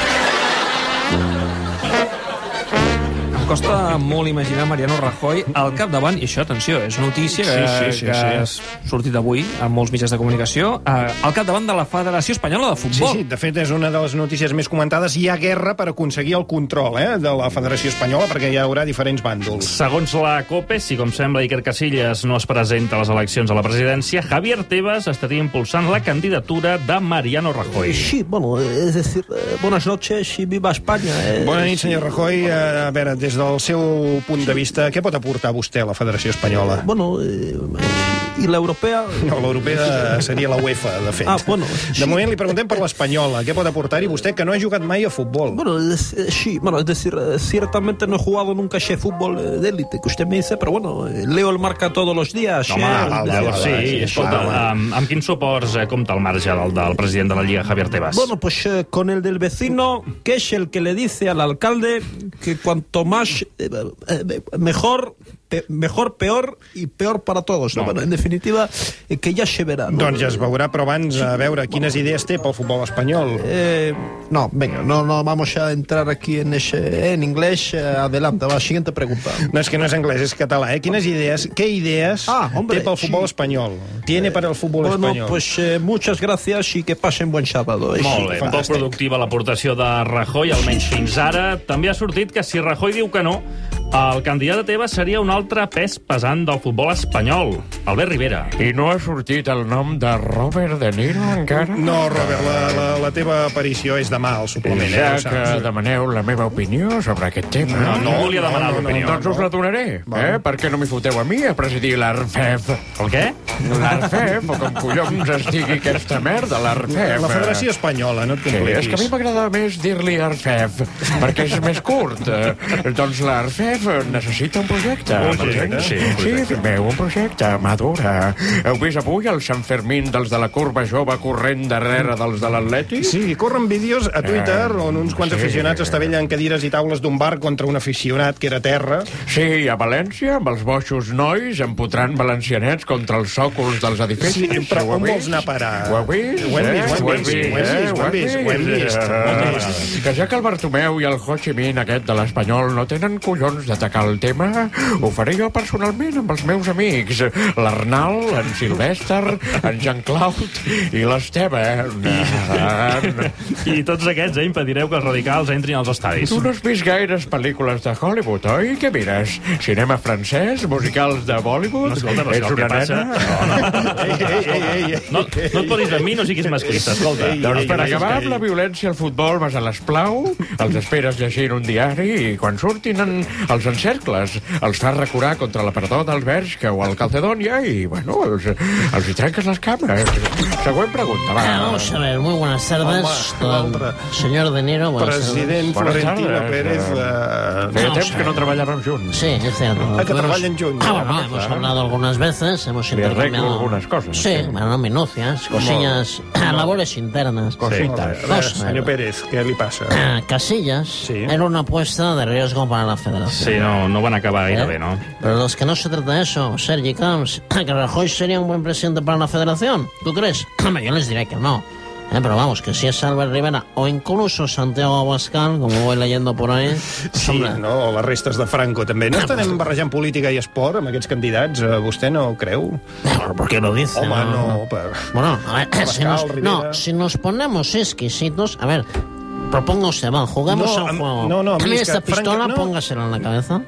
Speaker 1: costa molt imaginar Mariano Rajoy al capdavant, i això, atenció, és notícia que,
Speaker 2: Sí, sí, sí,
Speaker 1: que
Speaker 2: sí.
Speaker 1: ha sortit avui a molts mitjans de comunicació, eh, al capdavant de la Federació Espanyola de
Speaker 2: Sí,
Speaker 1: Futbol.
Speaker 2: sí, de fet és una de les notícies més comentades. Hi ha guerra per aconseguir el control eh, de la Federació Espanyola perquè hi haurà diferents bàndols.
Speaker 5: Segons la COPE, si com sembla Iker Casillas no es presenta a les eleccions a la presidència, Javier Tebas estaria impulsant la candidatura de Mariano Rajoy.
Speaker 22: Sí, bueno, es decir, eh, buenas noches y viva España. eh.
Speaker 2: Bona nit, senyor Rajoy. Eh, A veure, des del seu punt de vista, què pot aportar vostè a la Federació Espanyola?
Speaker 22: Bueno, eh, i l'europea...
Speaker 2: No, l'europea seria la UEFA, de fet.
Speaker 22: Ah, bueno,
Speaker 2: De moment li preguntem per l'espanyola. Què pot aportar-hi vostè, que no ha jugat mai a futbol?
Speaker 22: Bueno, es- eh, sí, bueno, es decir, eh, ciertamente no he jugado nunca ese fútbol eh, de élite que usted me dice, pero bueno, eh, leo el marca todos los días.
Speaker 5: Home,
Speaker 22: eh,
Speaker 5: val,
Speaker 22: es
Speaker 5: val,
Speaker 22: decir,
Speaker 5: sí,
Speaker 22: eh,
Speaker 5: escolta, amb, amb quins suports eh, compta el marge del, del president de la Lliga, Javier Tebas?
Speaker 22: Bueno, pues eh, con el del vecino, que es el que le dice al alcalde que cuanto más, eh, eh, mejor, pe- mejor, peor y peor para todos. ¿no? Bueno, en definitiva, eh, que ya se verá. ¿no?
Speaker 2: Doncs ja es veurà, però abans, a veure, quines idees té pel futbol espanyol?
Speaker 22: Eh, no, venga, no, no vamos a entrar aquí en, ese, en inglés. eh, Adelante, va, siguiente pregunta.
Speaker 2: No, és que no és anglès, és català, eh? Quines idees, què idees ah, hombre, té pel futbol sí. espanyol? Tiene para el futbol
Speaker 22: Bueno,
Speaker 2: espanyol?
Speaker 22: pues eh, muchas gracias y que pasen buen sábado. eh.
Speaker 5: Molt bé, poc productiva l'aportació de Rajoy, almenys fins ara. També ha sortit que si Rajoy diu que no, el candidat de Tebas seria un altre pes pesant del futbol espanyol, Albert Rivera.
Speaker 23: I no ha sortit el nom de Robert De Niro encara?
Speaker 2: No, Robert, la, la, la teva aparició és demà al suplement, eh?
Speaker 23: Ja
Speaker 2: ho
Speaker 23: que
Speaker 2: saps.
Speaker 23: demaneu la meva opinió sobre aquest tema...
Speaker 2: No, no volia demanar l'opinió.
Speaker 23: Doncs us la donaré, eh? Per què no m'hi foteu a mi a presidir l'ARFEF?
Speaker 5: El què?
Speaker 23: L'ARFEF, o com collons es digui aquesta merda, l'ARFEF.
Speaker 2: La Federació Espanyola, no et
Speaker 23: Sí,
Speaker 2: compliquis.
Speaker 23: és que a mi m'agrada més dir-li Arfef, perquè és més curt. Eh, doncs l'Arfef necessita un projecte. Un projecte? Sí, Sí, un sí, projecte. fill meu, un projecte, madura. Heu vist avui el Sant Fermín dels de la curva jove corrent darrere dels de l'Atleti?
Speaker 2: Sí, corren vídeos a Twitter
Speaker 23: Eh,
Speaker 2: on uns quants
Speaker 23: sí.
Speaker 2: aficionats estavellen cadires i taules d'un bar contra un aficionat que era a terra.
Speaker 23: Sí, a València, amb els boixos nois empotrant valencianets contra els sòcols dels edificis.
Speaker 2: Sí, però
Speaker 23: Ho heu
Speaker 2: on
Speaker 23: vist?
Speaker 2: vols anar a parar?
Speaker 23: Ho heu vist?
Speaker 2: Ho hem
Speaker 23: eh?
Speaker 2: vist, ho hem vist,
Speaker 23: eh?
Speaker 2: ho hem vist, ho hem vist, ho hem vist.
Speaker 23: Eh, Que ja que el Bartomeu i el Ho Chi Minh aquest de l'Espanyol no tenen collons d'atacar el tema, ho faré jo personalment amb els meus amics, l'Arnal, en Silvester, en Jean-Claude i l'Esteban. Eh,
Speaker 5: I tots aquests eh, impedireu que els radicals entrin als estadis.
Speaker 23: Tu no has vist gaires pel·lícules de Hollywood, oi? Què mires? Cinema francès? Musicals de Bollywood?
Speaker 5: No, escolta, però
Speaker 23: Ets
Speaker 5: això,
Speaker 23: una
Speaker 5: què passa?
Speaker 23: nena?
Speaker 5: No, no et posis de mi, no siguis masclista, escolta.
Speaker 23: Doncs per acabar amb la violència al futbol vas a l'esplau, els esperes llegint un diari i quan surtin en, els encercles els fas recurar contra la perdó del Bershka o el Calcedònia i, bueno, els, els hi trenques les cames. Següent pregunta, va.
Speaker 24: Ah, vamos a ver, muy buenas tardes.
Speaker 23: Home,
Speaker 24: don- señor De Niro, buenas
Speaker 23: President
Speaker 24: tardes.
Speaker 23: Florentino Buenas tardes. Pérez, eh, Feia
Speaker 24: Vamos
Speaker 23: temps
Speaker 24: a
Speaker 23: que no
Speaker 24: ver.
Speaker 23: treballàvem junts.
Speaker 24: Doncs, Sí, es cierto.
Speaker 23: Ah, que
Speaker 24: Tuvimos-
Speaker 23: treballen junts.
Speaker 24: Ah, bueno,
Speaker 23: Ah,
Speaker 24: hemos
Speaker 23: claro.
Speaker 24: hablado algunas veces, hemos
Speaker 23: Li arreglo
Speaker 24: intercambiado...
Speaker 23: algunas cosas.
Speaker 24: Sí, bueno, minucias, cosillas, labores internas.
Speaker 2: Cositas.
Speaker 24: Vamos a
Speaker 2: Res,
Speaker 24: ver.
Speaker 2: senyor Pérez, què li passa?
Speaker 24: Ah, Casillas era una apuesta de riesgo para la federación.
Speaker 5: Sí, no, no van acabar gaire
Speaker 24: Eh?
Speaker 5: bé, no?
Speaker 24: Pero los que no se trata de eso, Sergi Camps, que Rajoy sería un buen presidente para la federación, ¿tú crees? Hombre, yo les diré que no. Eh, pero vamos, que si es Albert Rivera o incluso Santiago Abascal, como voy leyendo por ahí,
Speaker 2: Sí, no, o les restes de Franco, també.
Speaker 24: Ah,
Speaker 2: No estarem barrejant política i esport amb aquests candidats? Eh, Vostè no ho creu?
Speaker 24: ¿por qué lo dice?
Speaker 2: Home, no,
Speaker 24: No,
Speaker 2: per...
Speaker 24: Bueno, a ver, si
Speaker 2: Abascal,
Speaker 24: nos,
Speaker 2: Rivera.
Speaker 24: no, si nos ponemos exquisitos, a ver, proponga usted, va, jugamos
Speaker 2: No,
Speaker 24: a un
Speaker 2: a-
Speaker 24: juego.
Speaker 2: no, no, a mí
Speaker 24: Dame
Speaker 2: es que
Speaker 24: esta
Speaker 2: Franca-
Speaker 24: pistola,
Speaker 2: no.
Speaker 24: póngasela en la cabeza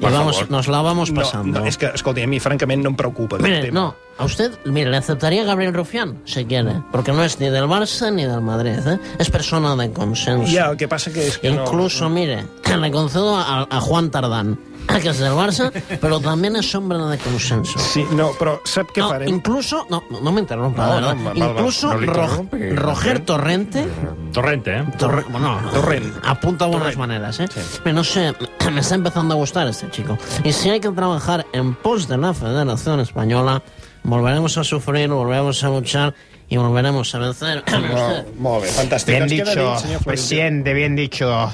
Speaker 24: y vamos, nos la vamos pasando.
Speaker 2: No, no, és que, escolti, a mi francament no em preocupa aquest
Speaker 24: Mire,
Speaker 2: tema.
Speaker 24: no, a usted, mire, le aceptaría Gabriel Rufián, si quiere, porque no es ni del Barça ni del Madrid, ¿eh? es persona de consenso.
Speaker 2: Ja, el que passa que és que
Speaker 24: Incluso, mire, le concedo a, a Juan Tardán, que es del Barça, pero también es hombre de consenso.
Speaker 2: Sí, no, pero ¿sabes qué
Speaker 24: no,
Speaker 2: farem?
Speaker 24: Incluso, no, no me interrumpa,
Speaker 2: No,
Speaker 24: de verdad.
Speaker 2: no, va, va, va.
Speaker 24: incluso
Speaker 2: No li
Speaker 24: Ro-
Speaker 2: interrumpi, eh?
Speaker 24: Roger Torrente...
Speaker 5: Torrente, ¿eh?
Speaker 24: Torre, bueno,
Speaker 2: Torrent.
Speaker 24: apunta a buenas maneras, ¿eh? Pero no sé, me está empezando a gustar este chico. Y si hay que trabajar en pos de la Federación Española, volveremos a sufrir, volveremos a luchar y volveremos a vencer.
Speaker 2: Molt bé, fantàstic.
Speaker 24: Bien
Speaker 2: Ens queda
Speaker 24: dicho,
Speaker 2: senyor Florentino.
Speaker 24: presidente,
Speaker 4: Bien dicho.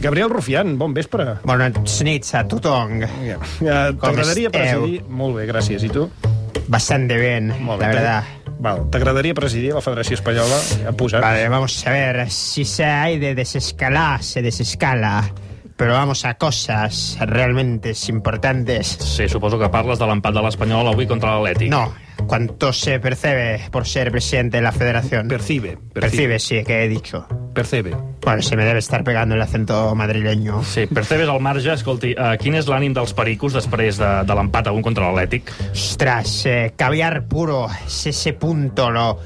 Speaker 2: Gabriel Rufián, bon vespre.
Speaker 4: Buenas nits a tothom.
Speaker 2: Ja. Eh, T'agradaria
Speaker 4: esteu?
Speaker 2: presidir... Molt bé, gràcies. I tu?
Speaker 4: eh, Bastante bien,
Speaker 2: Molt bé,
Speaker 4: la verdad.
Speaker 2: Val, t'agradaria presidir la Federació Espanyola? Ja posat.
Speaker 4: Vale, vamos a ver. Si se hay de desescalar, se desescala.
Speaker 3: Pero vamos a cosas realmente importantes.
Speaker 5: Sí, suposo que parles de l'empat de l'Espanyol avui contra l'Atlètic.
Speaker 3: No, cuánto se percibe por ser presidente de la federación.
Speaker 5: Percibe,
Speaker 3: percibe. sí, que he dicho.
Speaker 5: Percebe.
Speaker 3: Bueno, se me debe estar pegando el acento madrileño.
Speaker 5: Sí, percebes al marge, escolti, uh, quin és l'ànim dels pericos després de, de l'empat avui contra l'Atlètic?
Speaker 3: Ostras, eh, caviar puro, es ese punto lo,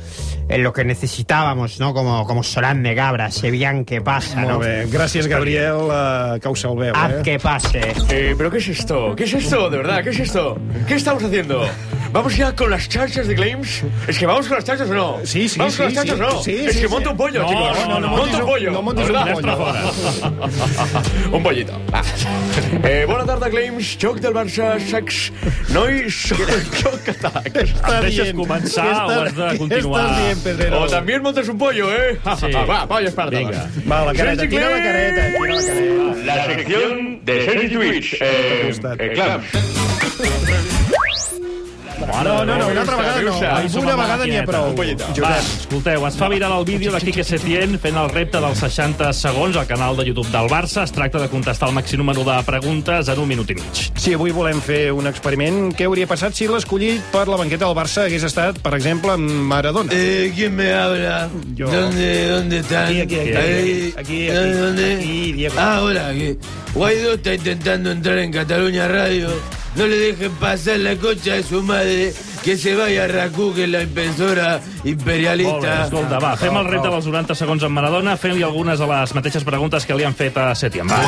Speaker 3: eh, lo que necesitábamos, ¿no? Como, como Solán de Gabra, Sevillan que pasa, ¿no?
Speaker 2: Molt Ah, bé. Gràcies, Gabriel, eh, que ho salveu,
Speaker 3: Haz
Speaker 2: eh?
Speaker 3: que pase.
Speaker 23: Eh, pero ¿qué es esto? ¿Qué es esto? De verdad, ¿qué es esto? ¿Qué estamos haciendo? ¿Vamos ya con las charchas de Claims? ¿Es que vamos con las charchas o no?
Speaker 2: Sí, sí,
Speaker 23: ¿Vamos con
Speaker 2: sí,
Speaker 23: las charchas
Speaker 2: sí.
Speaker 23: o no?
Speaker 2: Sí,
Speaker 23: es
Speaker 2: sí,
Speaker 23: que
Speaker 2: sí.
Speaker 23: monta un pollo,
Speaker 2: No,
Speaker 23: chicos.
Speaker 2: no, no, no
Speaker 23: monta
Speaker 2: montes
Speaker 23: un
Speaker 2: un-
Speaker 23: pollo.
Speaker 2: no montes
Speaker 23: de
Speaker 2: un
Speaker 23: verdad. un pollito.
Speaker 2: Ah.
Speaker 23: Va. Eh, bona tarda, Claims. Xoc del Barça, sacs... Nois, xoc atac.
Speaker 5: Em deixes dient? començar Què o has de estàs- què continuar? estàs dient, Pedrero?
Speaker 23: O també montes un pollo, eh?
Speaker 5: Sí.
Speaker 23: Va, pollos para todos.
Speaker 5: Vinga.
Speaker 23: Va,
Speaker 5: la careta, tira la
Speaker 23: careta,
Speaker 2: tira la careta.
Speaker 23: La sección de Sergi Twitch. Eh, eh, Clams.
Speaker 2: No, no, no, una altra vegada no.
Speaker 5: Ai, som
Speaker 2: Una
Speaker 5: una
Speaker 2: vegada n'hi ha
Speaker 5: maquineta.
Speaker 2: prou.
Speaker 5: Va,
Speaker 2: Josep.
Speaker 5: escolteu, es fa viral el vídeo de Quique Setién fent el repte dels 60 segons al canal de YouTube del Barça. Es tracta de contestar el màxim número de preguntes en un minut i mig.
Speaker 2: Sí, avui volem fer un experiment. Què hauria passat si l'escollit per la banqueta del Barça hagués estat, per exemple, amb Maradona?
Speaker 6: Eh, ¿Quién me habla?
Speaker 2: Yo.
Speaker 6: ¿Dónde, dónde están?
Speaker 2: Aquí, aquí, aquí,
Speaker 6: Ahí.
Speaker 2: aquí, aquí,
Speaker 6: ¿Dónde, dónde?
Speaker 2: aquí, Diego.
Speaker 6: Ah, hola, aquí. Guaidó está intentando entrar en Cataluña Radio. No le dejen pasar la cocha de su madre. Que se vaya a Racú, que es la impresora imperialista.
Speaker 5: Molt bé, escolta, va, fem el repte dels 90 segons amb Maradona, fent-li algunes de les mateixes preguntes que li han fet a Setién. Va.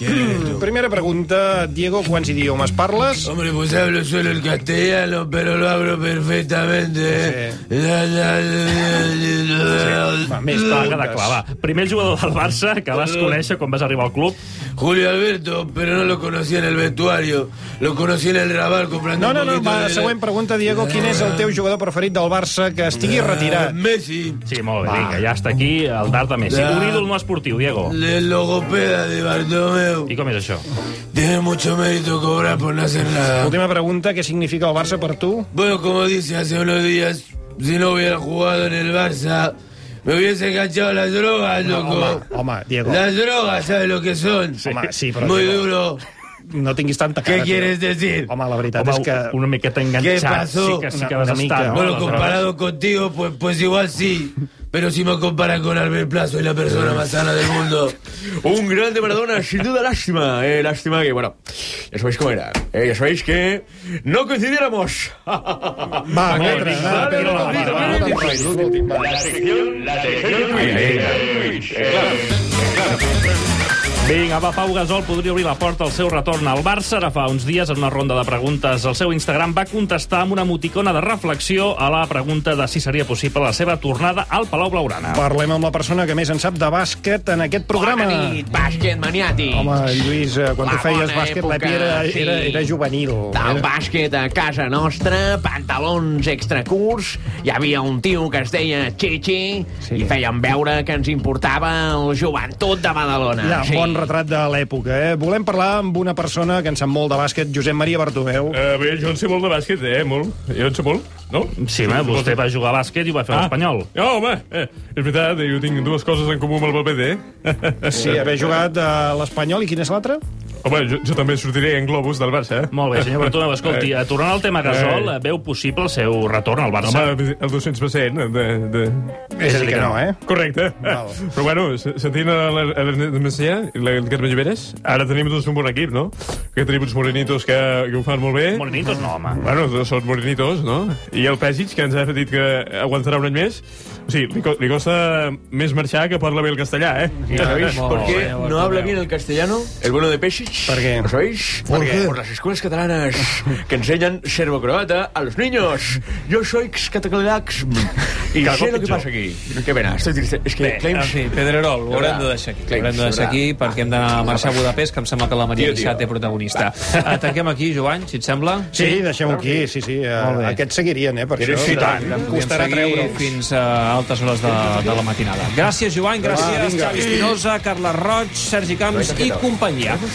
Speaker 2: Mm, Primera pregunta, Diego, quants idiomes parles?
Speaker 6: Hombre, pues hablo solo el castellano, pero lo hablo perfectamente. ¿eh? La, la, la, la, la.
Speaker 5: Va, més va, queda clar, va. Primer el jugador del Barça que vas conèixer quan vas arribar al club.
Speaker 6: Julio Alberto, pero no lo conocí en el vestuario. Lo conocí en el Raval comprando
Speaker 2: No, no,
Speaker 6: un
Speaker 2: no,
Speaker 6: poquito
Speaker 2: va,
Speaker 6: de-
Speaker 2: següent pregunta, Diego. Quin és el teu jugador preferit del Barça que estigui
Speaker 6: Ah,
Speaker 2: retirat?
Speaker 6: Messi.
Speaker 5: Sí, molt bé, vinga, ja està aquí el dard de Messi.
Speaker 6: Ja.
Speaker 5: Un ídol no esportiu, Diego.
Speaker 6: El logopeda de Bartomeu.
Speaker 5: I com és això?
Speaker 6: Tiene mucho mérito cobrar por no hacer nada.
Speaker 2: Última pregunta, què significa el Barça per tu?
Speaker 6: Bueno, como dice hace unos días, si no hubiera jugado en el Barça, me hubiese enganchado a las drogas, loco.
Speaker 2: Home, home, Diego.
Speaker 6: Las drogas, ¿sabes lo que son?
Speaker 2: Home, sí, però...
Speaker 6: Muy
Speaker 2: Diego,
Speaker 6: duro.
Speaker 2: No tinguis tanta cara.
Speaker 6: Què
Speaker 2: tio.
Speaker 6: quieres decir?
Speaker 2: Home, la veritat
Speaker 5: Home,
Speaker 2: és que...
Speaker 5: una miqueta
Speaker 6: ¿Qué
Speaker 5: enganxat.
Speaker 6: pasó?
Speaker 5: Sí que, sí que vas estar, no?
Speaker 6: Bueno,
Speaker 5: Les drogues.
Speaker 6: comparado contigo, pues, pues igual sí. Pero si me comparan con Albert Plaza, soy la
Speaker 5: Eh.
Speaker 6: persona más sana del mundo.
Speaker 23: Un grande Maradona, sin duda, lástima. Eh, lástima que, bueno, ya sabéis cómo era. Eh, ya sabéis que no coincidiéramos.
Speaker 2: Va,
Speaker 23: Vale,
Speaker 2: Petra,
Speaker 23: vale,
Speaker 2: va, Petra,
Speaker 23: vale,
Speaker 2: va,
Speaker 23: vale,
Speaker 2: va,
Speaker 23: vale,
Speaker 2: va,
Speaker 23: vale. La sección- la sección Twitch. Eh,
Speaker 5: Vinga, va, Pau Gasol podria obrir la porta al seu retorn al Barça. Ara fa uns dies, en una ronda de preguntes al seu Instagram, va contestar amb una emoticona de reflexió a la pregunta de si seria possible la seva tornada al Palau Blaugrana.
Speaker 2: Parlem amb la persona que més en sap de bàsquet en aquest programa.
Speaker 25: Bona nit, bàsquet maniàtic.
Speaker 2: Home, Lluís, eh, quan
Speaker 25: La
Speaker 2: tu feies
Speaker 25: bona
Speaker 2: bàsquet,
Speaker 25: època,
Speaker 2: l'Epi era, era,
Speaker 25: sí.
Speaker 2: era juvenil. eh?
Speaker 25: Del
Speaker 2: Era...
Speaker 25: bàsquet a casa nostra, pantalons extra curts, hi havia un tio que es deia Chichi sí. i fèiem veure que ens importava el joventut de Badalona.
Speaker 2: Hi ha un bon retrat de l'època, eh? Volem parlar amb una persona que en sap molt de bàsquet, Josep Maria Bartomeu.
Speaker 7: Eh, bé, jo en sé molt de bàsquet, eh, molt. Jo en sé molt, no? Ah.
Speaker 5: Sí, home, vostè va jugar a bàsquet i ho va fer a l'Espanyol.
Speaker 7: No, home, eh, és veritat, jo tinc dues coses en comú amb el Valverde, eh?
Speaker 2: Sí, haver jugat a l'Espanyol i quin és l'altre?
Speaker 7: Home, jo, jo també sortiré en globus del Barça, eh?
Speaker 5: Molt bé, senyor Bertomeu, escolti, eh, tornant al tema Gasol,
Speaker 7: Eh.
Speaker 5: eh, veu possible el seu retorn al Barça?
Speaker 7: Home, el 200% de... de...
Speaker 2: És a dir que no, eh?
Speaker 7: Correcte. Val. Però bueno, se- sentint a l'Er- a l'Ernest Macià i la Carme Lloberes, ara tenim tots un bon equip, no? Que tenim uns morenitos que, que ho fan molt bé.
Speaker 5: Morenitos no, home.
Speaker 7: Bueno, dos són morenitos, no? I el Pèsic, que ens ha dit que aguantarà un any més, o sigui, li, co- li costa més marxar que parla bé el castellà, eh?
Speaker 23: ¿Y sabéis por qué no habla bien el castellano? El bueno de Pesic.
Speaker 2: ¿Por qué?
Speaker 23: ¿Lo sabéis?
Speaker 2: ¿Por qué?
Speaker 23: Por las escuelas catalanas que enseñan serbo-croata a los niños. Yo soy catacalax y
Speaker 6: Cada
Speaker 23: sé
Speaker 6: cop
Speaker 23: lo que
Speaker 6: pitjor.
Speaker 23: pasa aquí. Qué pena, estoy triste. Es que
Speaker 6: Bé,
Speaker 23: Claims-
Speaker 6: en fi, Pedrerol, ho haurem de deixar aquí. Ho haurem de deixar aquí perquè hem d'anar a marxar a Budapest, que em sembla que la Maria
Speaker 2: Tio, tio.
Speaker 6: Guissat té protagonista. Eh, Tanquem aquí, Joan, si et sembla.
Speaker 2: Sí, deixem-ho aquí, sí, sí. eh,
Speaker 6: Molt bé.
Speaker 2: Aquests seguirien, eh, per
Speaker 6: Eres
Speaker 2: això.
Speaker 6: citant.
Speaker 2: Em
Speaker 6: Podríem
Speaker 2: costarà
Speaker 6: seguir
Speaker 2: treure'ls.
Speaker 6: fins a altes hores de, de la matinada. Gràcies, Joan, gràcies,
Speaker 2: vinga.
Speaker 6: Xavi Espinosa, Carles Roig, Sergi Camps
Speaker 2: Vinga,
Speaker 6: i
Speaker 2: què tal?
Speaker 6: companyia.